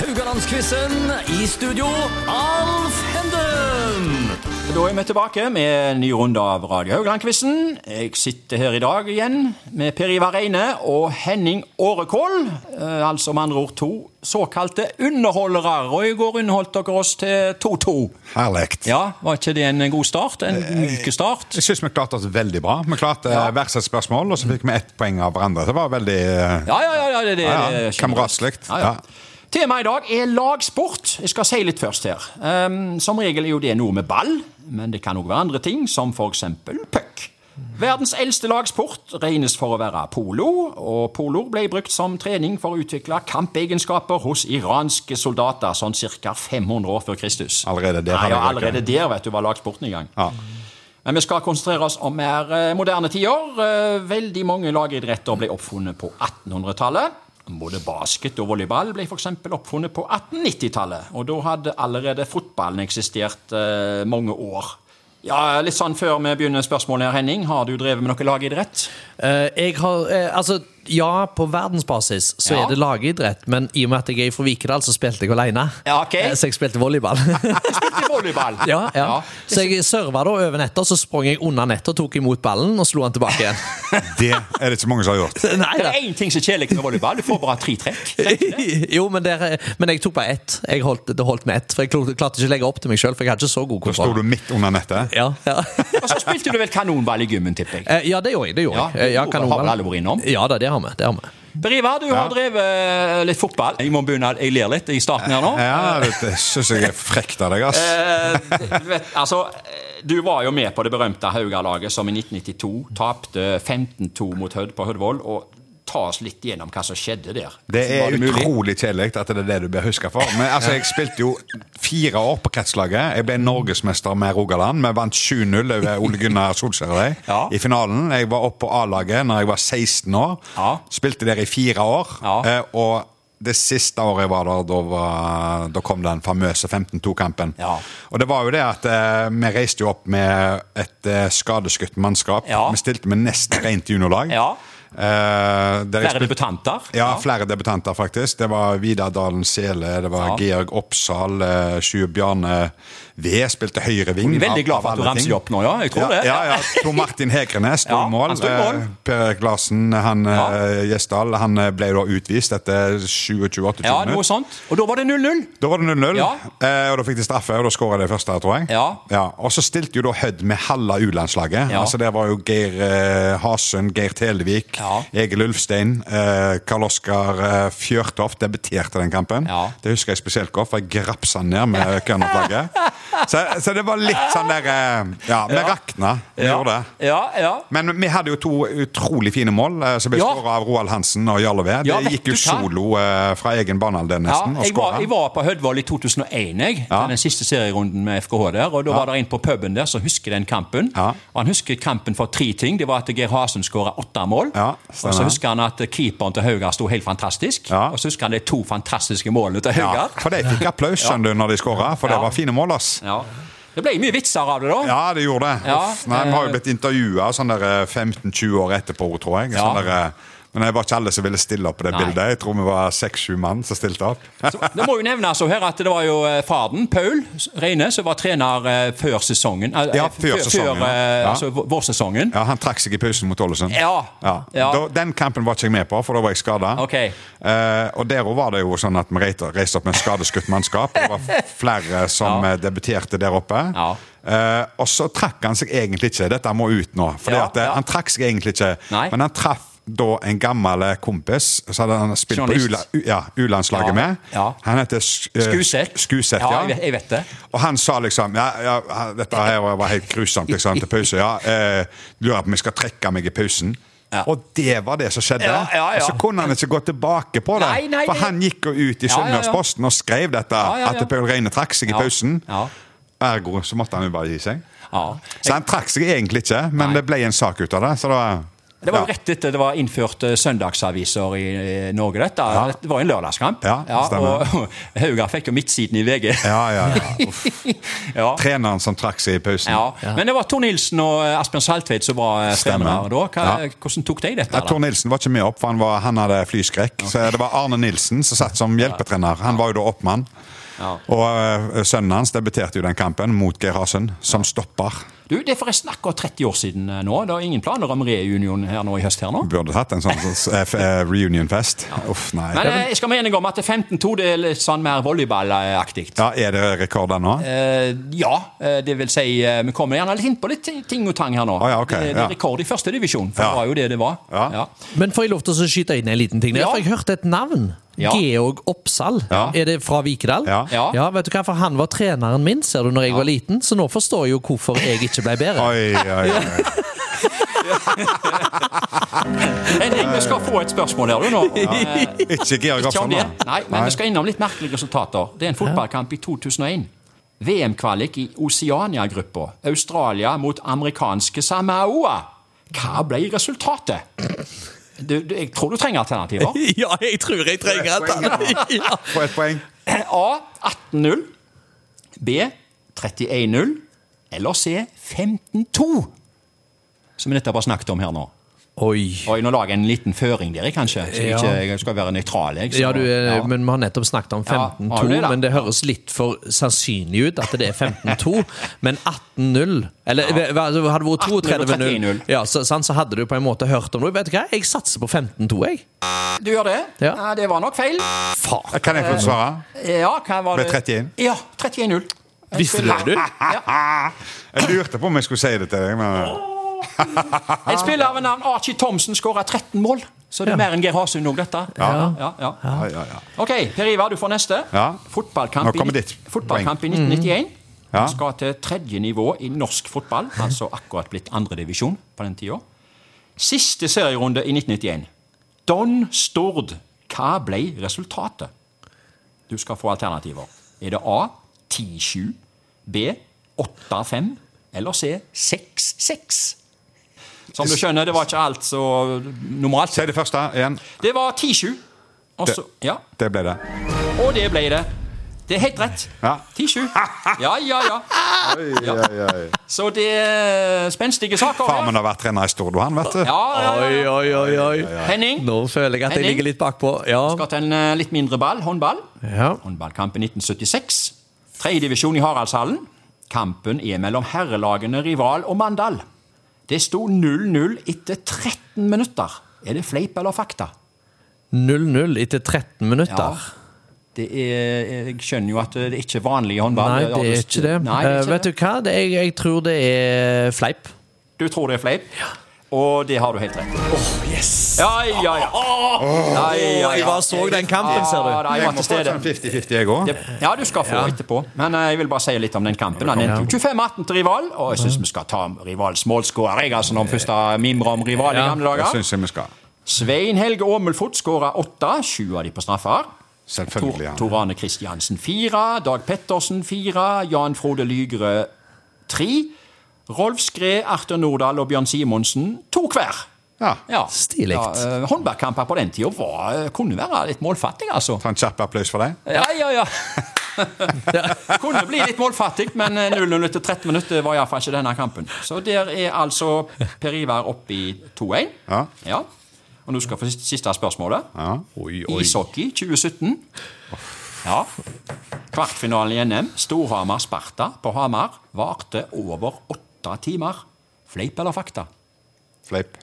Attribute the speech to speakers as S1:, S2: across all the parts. S1: Haugalandsquizen i studio, Alf Henden!
S2: Da er vi tilbake med en ny runde av Radio Haugland-quizen. Jeg sitter her i dag igjen med Per Ivar Reine og Henning Årekål. Eh, altså med andre ord to såkalte underholdere. Og i går underholdt dere oss til 2-2.
S3: Herlig.
S2: Ja, var ikke det en god start? En myk start?
S3: Jeg syns vi klarte oss veldig bra. Vi klarte
S2: Ja.
S3: eh, hvert sitt spørsmål, og så fikk vi ett poeng av hverandre. Det var veldig eh,
S2: Ja, ja, ja. ja, det, det,
S3: Ja, ja.
S2: det er
S3: Kameratslikt,
S2: Ja, ja.
S3: ja.
S2: Temaet i dag er lagsport. Jeg skal si litt først her. Ehm, som regel er jo det noe med ball, men det kan òg være andre ting, som f.eks. puck. Verdens eldste lagsport regnes for å være polo, og polo ble brukt som trening for å utvikle kampegenskaper hos iranske soldater sånn ca. 500 år før Kristus.
S3: Allerede der
S2: Nei,
S3: har vi
S2: ja,
S3: røket.
S2: allerede der vet du var lagsporten i gang.
S3: Ja.
S2: Men vi skal konsentrere oss om mer eh, moderne tider. Eh, Veldig mange lagidretter ble oppfunnet på 1800-tallet. Både basket og volleyball ble f.eks. oppfunnet på 1890-tallet. Og da hadde allerede fotballen eksistert eh, mange år. Ja, Litt sånn før vi begynner spørsmålet her, Henning. Har du drevet med noe lagidrett?
S4: Eh, jeg har, eh, altså, ja, på verdensbasis så
S2: Ja.
S4: er det lagidrett, men i og med at jeg er fra Vikedal, så spilte jeg alene.
S2: Ja, ok.
S4: Eh, Så jeg spilte volleyball.
S2: Spilte volleyball.
S4: ja, ja. Så jeg serva da over nettet, og så sprang jeg under nettet og tok imot ballen og slo han tilbake igjen.
S3: Det er det ikke så mange som har gjort.
S4: Nei
S2: Det
S4: da.
S2: er én ting som er kjedelig med volleyball. Du får bare tre trekk.
S4: jo, men, der, men jeg tok bare ett. Jeg holdt, det holdt med ett, for jeg klo- klarte ikke å legge opp til meg sjøl, for jeg hadde ikke så god
S3: Da sto
S4: kontroll.
S3: du midt under nettet.
S4: Ja, ja.
S2: Og så spilte du vel kanonball i gymmen, tipper jeg.
S4: Eh, ja, det gjorde jeg. Det gjorde
S2: Ja,
S4: jeg. Eh,
S2: det gjorde- har vel alle vært innom?
S4: Ja da, det har vi. Det har vi.
S2: Briva, du har drevet eh, litt fotball. Jeg må begynne, jeg ler litt i starten her nå.
S3: Ja, det, det syns jeg er frekt av deg, ass.
S2: Eh, du vet, altså, eh, du var jo med på det berømte Haugalaget som i 1992 tapte 15-2 mot Hødd på Hødvold. Og ta oss litt gjennom hva som skjedde der.
S3: Det
S2: Var
S3: er
S2: mulig?
S3: utrolig kjedelig at det er det du blir huska for. Men altså, Jeg spilte jo fire år på kretslaget. Jeg ble norgesmester med Rogaland. Vi vant 7-0 over Ole Gunnar Solskjær og de
S2: Ja.
S3: i finalen. Jeg var oppe på A-laget når jeg var 16 år.
S2: Ja.
S3: Spilte der i fire år.
S2: Ja.
S3: Eh, Og det siste året jeg var der, da, var, da kom den famøse 15-2-kampen.
S2: Ja.
S3: Og det var jo det at eh, vi reiste jo opp med et eh, skadeskutt mannskap.
S2: Ja.
S3: Vi stilte med nesten rent juniorlag.
S2: Ja.
S3: Eh, der
S2: Flere
S3: jeg spilte-
S2: debutanter.
S3: ja, flere debutanter, faktisk. Det var Vidar Dalen Sele, det var
S2: Ja.
S3: Georg Oppsal, eh, Sjur Bjarne V spilte høyreving.
S2: Jeg er veldig glad for at du ramser de opp nå, ja. Jeg tror det.
S3: Ja, ja, ja. Tor Martin Hegrenes sto
S2: Ja,
S3: i mål.
S2: han sto i mål.
S3: Eh, Per Erik Larsen, han eh,
S2: Ja.
S3: Gjesdal, han eh, ble da utvist etter 27-28
S2: Ja, noe
S3: minutter.
S2: sånt. Og da var det 0-0.
S3: Da var det 0-0,
S2: Ja.
S3: eh, og da fikk de straffe, og da skåra de første, tror jeg.
S2: Ja.
S3: Og så stilte jo da Hødd med halve U-landslaget.
S2: Ja.
S3: Altså, der var jo Geir eh, Hasund, Geir Televik,
S2: Ja.
S3: Egil Ulfstein, eh, Karl Oskar eh, Fjørtoft debuterte den kampen.
S2: Ja.
S3: Det husker jeg spesielt godt, for jeg grapsa ned med Kørnhoff-laget. så, så det var litt sånn der eh, Ja, vi rakna. Vi gjorde det.
S2: Ja, ja.
S3: Men vi hadde jo to utrolig fine mål eh, som ble
S2: Ja.
S3: skåret av Roald Hansen og Jarle Ved.
S2: Ja,
S3: det
S2: vet
S3: gikk jo
S2: du hva?
S3: solo eh, fra egen banehalvdel,
S2: Ja,
S3: nesten. og
S2: jeg, var,
S3: skåret.
S2: jeg var på Hødvold i 2001, jeg,
S3: Ja.
S2: den siste serierunden med FKH der. og Da var det en på puben der som husker den kampen.
S3: Ja.
S2: Og Han husker kampen for tre ting. Det var at Geir Hasen skåra åtte mål.
S3: Ja,
S2: og
S3: stemmer.
S2: så husker han at keeperen til Haugar sto helt fantastisk.
S3: Ja.
S2: Og så husker han de to fantastiske målene til
S3: Ja,
S2: Haugar.
S3: for de fikk applaus skjønner du, når de skåra, for
S2: Ja.
S3: det var fine mål. ass.
S2: Ja. Det ble mye vitser av det, da.
S3: Ja, det gjorde det.
S2: Ja, Eh.
S3: Uff, nei, Vi har jo blitt intervjua sånn der, eh, 15-20 år etterpå, tror jeg.
S2: Ja.
S3: Sånn der, eh, men det var ikke alle som ville stille opp på det
S2: Nei.
S3: bildet. Jeg tror vi var seks-sju mann som stilte opp.
S2: Så, det må jo nevnes så her at det var jo eh, faren, Paul Reine, som var trener eh, før sesongen. eh,
S3: Ja,
S2: eh,
S3: før sesongen,
S2: Før, eh,
S3: ja.
S2: altså vå- vårsesongen.
S3: Ja, Han trakk seg i pausen mot Ålesund.
S2: Ja. Ja.
S3: Da, den kampen var ikke jeg med på, for da var jeg skada.
S2: Ok.
S3: Eh, og der òg var det jo sånn at vi reiste reiste opp med skadeskutt mannskap. Det var flere som
S2: Ja.
S3: eh, debuterte der oppe.
S2: Ja.
S3: Eh, og så trakk han seg egentlig ikke. Dette må ut nå. For
S2: Ja, ja.
S3: han trakk seg egentlig ikke,
S2: Nei.
S3: men han traff da en gammel eh, kompis Så hadde han spilt
S2: Journalist.
S3: på U-la- U- ja, U-landslaget
S2: Ja,
S3: med.
S2: ja.
S3: Han heter Sk- eh,
S2: Skuseth.
S3: Skuseth,
S2: Ja,
S3: ja.
S2: jeg vet- jeg vet det.
S3: Og han sa liksom ja, ja, Dette her var helt grusomt liksom, til pause. Ja, eh, lurer på om jeg skal trekke meg i pausen.
S2: Ja.
S3: Og det var det som skjedde.
S2: Ja, ja, ja.
S3: Og Så kunne han ikke gå tilbake på det.
S2: Nei, nei,
S3: for
S2: det-
S3: han gikk jo ut i
S2: Ja, ja, ja.
S3: Sunnmørsposten og skrev dette.
S2: Ja, ja, ja.
S3: At Paul Reine trakk seg i
S2: Ja.
S3: pausen.
S2: Ja.
S3: Ergo så måtte han jo bare gi seg.
S2: Ja.
S3: Så han trakk seg egentlig ikke, men
S2: Nei.
S3: det ble en sak ut av det. Så da
S2: Det var jo
S3: Ja.
S2: rett etter det var innført eh, søndagsaviser i eh, Norge, dette. Det var jo en lørdagskamp.
S3: Ja, stemmer.
S2: og Haugar fikk jo midtsiden i VG.
S3: Ja, ja, ja. Uff.
S2: Ja.
S3: Treneren som trakk seg i pausen.
S2: Ja. Men det var Tor Nilsen og eh, Asbjørn Saltveit som var eh,
S3: Stemmer.
S2: trenere da. Hva,
S3: Ja.
S2: Hvordan tok de dette?
S3: Ja,
S2: da?
S3: Tor Nilsen var ikke med opp, for han, var, han hadde flyskrekk. Så det var Arne Nilsen som satt som hjelpetrener. Han var jo da oppmann.
S2: Ja.
S3: Og eh, sønnen hans debuterte jo den kampen mot Geir Hasund, som stopper.
S2: Du, Det er forresten akkurat 30 år siden eh, nå. Det er ingen planer om reunion her nå i høst her nå?
S3: Burde hatt en sånn sånn, eh, f- eh, reunionfest. Uff, nei.
S2: Men eh, jeg skal være enig om at 15-2 det er litt sånn mer volleyballaktig.
S3: Ja, er det rekorder nå?
S2: Eh, ja, eh, det vil si eh, Vi kommer gjerne litt inn på litt ting og tang her nå.
S3: Ah, ja, ok,
S2: det, det
S3: ja.
S2: er rekord i første divisjon, for
S3: Ja.
S2: det var jo det det var.
S3: Ja.
S4: Men får jeg lov til å skyte inn en liten ting? der?
S2: Ja.
S4: For jeg hørte et navn.
S2: Ja.
S4: Georg Oppsal.
S3: Ja.
S4: Er det fra Vikedal?
S3: Ja.
S2: Ja.
S4: vet du hva? For han var treneren min ser du, når jeg var liten, så nå forstår jeg jo hvorfor jeg ikke ble bedre.
S3: Oi, oi, oi.
S2: Henning, vi skal få et spørsmål her du nå. Eh,
S3: Ikke Georg
S2: Ikke om
S4: sånn,
S3: Hoffmann,
S2: det.
S3: da.
S2: Nei, men vi skal innom litt merkelige resultater. Det er en fotballkamp i 2001. VM-kvalik i Oceania-gruppa. Australia mot amerikanske Samoa. Hva ble resultatet? Du, du, jeg tror du trenger alternativer.
S4: Ja, jeg tror jeg trenger et ja.
S3: Få et poeng.
S2: A 18-0. B 31-0. Eller C 15-2. Som vi nettopp har snakket om her nå.
S4: Oi.
S2: Oi, nå lager jeg en liten føring der, jeg, kanskje. Så jeg
S4: Ja.
S2: ikke jeg skal være nøytral. Jeg, så-
S4: Ja, du, eh,
S2: Ja.
S4: men Vi har nettopp snakket om 15-2,
S2: Ja, har du det, da?
S4: men det høres litt for sannsynlig ut at det er 15-2. men 18-0 Eller eh, hva- altså, hadde det vært 32-0,
S2: 32-0.
S4: ja, så, sant, så hadde du på en måte hørt om det. Vet du hva? Jeg satser på 15-2, jeg.
S2: Du gjør det?
S4: Ja.
S2: Nei, det var nok feil.
S4: Faen.
S3: Kan jeg få
S2: Eh.
S3: svare?
S2: Ja, hva var
S3: Ble
S2: det?
S3: 31?
S2: Ja, 31-0.
S4: Visste du det, du?
S3: Jeg lurte på om jeg skulle si det til deg. Men...
S2: En spiller ved navn Archie Thomsen skåra 13 mål. Så det er mer enn Geir Hasund òg, dette.
S3: Ja.
S2: Ja, ja.
S3: Ja, ja, ja.
S2: Ok, Per Ivar, du får neste.
S3: Ja.
S2: Fotballkamp,
S3: Nå kommer
S2: i,
S3: ditt Mm.
S2: fotballkamp i 1991.
S3: Ja.
S2: Han skal til tredje nivå i norsk fotball. Altså akkurat blitt andredivisjon på den tida. Siste serierunde i 1991. Don Stord. Hva ble resultatet? Du skal få alternativer. Er det A 10-7, B 8-5 eller C 6-6? Som du skjønner, det var ikke alt så normalt.
S3: Si det første igjen.
S2: Det var 10-7. Og så- Ja.
S3: Det ble det.
S2: Og det ble det. Det er helt rett.
S3: Ja.
S2: 10-7. Ja, ja, ja. Ja. Så det er spenstige saker. her.
S3: Far min har vært trener i Stord, og han, vet du.
S2: Ja, ja, ja.
S4: Oi, oi, oi, oi.
S2: Henning,
S4: Nå føler jeg at jeg ligger
S2: Henning?
S4: litt bakpå. Ja.
S2: skal til en eh, litt mindre ball, håndball.
S4: ja.
S2: Håndballkamp i 1976. Tredjedivisjon i Haraldshallen. Kampen er mellom herrelagene Rival og Mandal. Det sto 0-0 etter 13 minutter. Er det fleip eller fakta?
S4: 0-0 etter 13
S2: Ja.
S4: minutter.
S2: Det er, jeg skjønner jo at det ikke er vanlig i håndball.
S4: Nei, det er ikke det.
S2: Nei, det er
S4: Eh,
S2: ikke
S4: vet du
S2: det.
S4: hva? Det, jeg, jeg tror det er fleip.
S2: Du tror det er fleip? Og det har du helt rett i.
S4: Yes!
S2: Ja, ja, ja. Nei, ja,
S4: Jeg
S2: ja.
S4: bare så den kampen, ser
S2: Ja,
S4: du.
S2: da, jeg
S3: Jeg
S2: var
S3: må
S2: til
S3: få
S2: stede.
S3: sånn 50-50, jeg òg.
S2: Det- Ja, du skal få etterpå. Men eh, jeg vil bare si litt om den kampen. Han endte jo 25-18 til rival, og jeg syns vi skal ta rivals målskårer, jeg, altså, når vi først har mimret om rival i
S4: Ja,
S2: gamle
S3: Det
S2: dager.
S3: syns jeg vi skal.
S2: Svein Helge Åmulfot skåra åtte, sju av de på straffer.
S3: Selvfølgelig, ja.
S2: Tor, Tor Arne Kristiansen fire, Dag Pettersen fire, Jan Frode Lygre tre. Rolf Skred, Arthur Nordahl og Bjørn Simonsen to hver.
S3: Ja.
S2: Ja.
S4: Stilig.
S2: Ja, eh, håndballkamper på den tida var, eh, kunne være litt målfattig, altså.
S3: Ta en kjapp applaus for deg.
S2: Ja, ja, ja. Kunne bli litt målfattig, men 0-0 etter 13 minutter var iallfall ikke denne kampen. Så der er altså Per Ivar oppe i 2-1.
S3: Ja.
S2: Og nå skal vi få siste- siste spørsmålet.
S3: Ja.
S2: Ishockey 2017. Ja. Kvartfinalen i NM, Storhamar-Sparta på Hamar, varte over åtte timer. Fleip eller fakta?
S3: Fleip.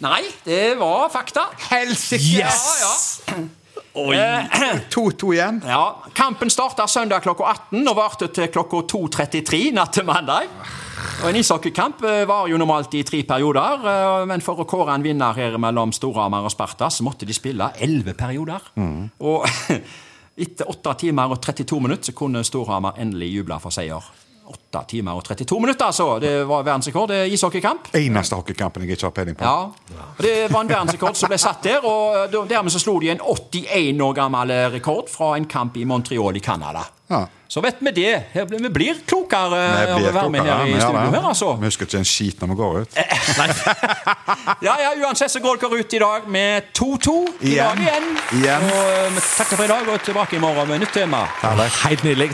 S2: Nei, det var fakta.
S3: Helsike!
S2: Ja, ja. Eh,
S3: 2-2 igjen.
S2: Ja, Kampen starta søndag klokka 18 og varte til klokka 2.33 natt til mandag. Og En ishockeykamp eh, varer jo normalt i tre perioder, eh, men for å kåre en vinner her mellom Storhamar og Sparta, så måtte de spille elleve perioder. Og etter 8 timer og 32 minutter så kunne Storhamar endelig juble for seier. 8 timer og 32 minutter, altså. Det var verdensrekord. Det er ishockeykamp.
S3: Eneste hockeykampen jeg ikke har peiling på.
S2: Ja. Og Det var en verdensrekord som ble satt der, og eh, da- dermed så slo de en 81 år gammel eh, rekord fra en kamp i Montreal i Canada.
S3: Ja.
S2: Så vet vi det. Her blir- Vi blir klokere
S3: Vi
S2: eh, av å
S3: blir
S2: være med
S3: klokere,
S2: her i
S3: men ja,
S2: studio
S3: da.
S2: her, altså.
S3: Vi husker ikke en skit når vi går ut.
S2: Ja, ja, uansett så går dere ut i dag med 2-2 i
S3: Igjen.
S2: dag igjen.
S3: Igjen.
S2: Og eh, vi takker for i dag og er tilbake i morgen med nytt tema.
S4: Helt nydelig.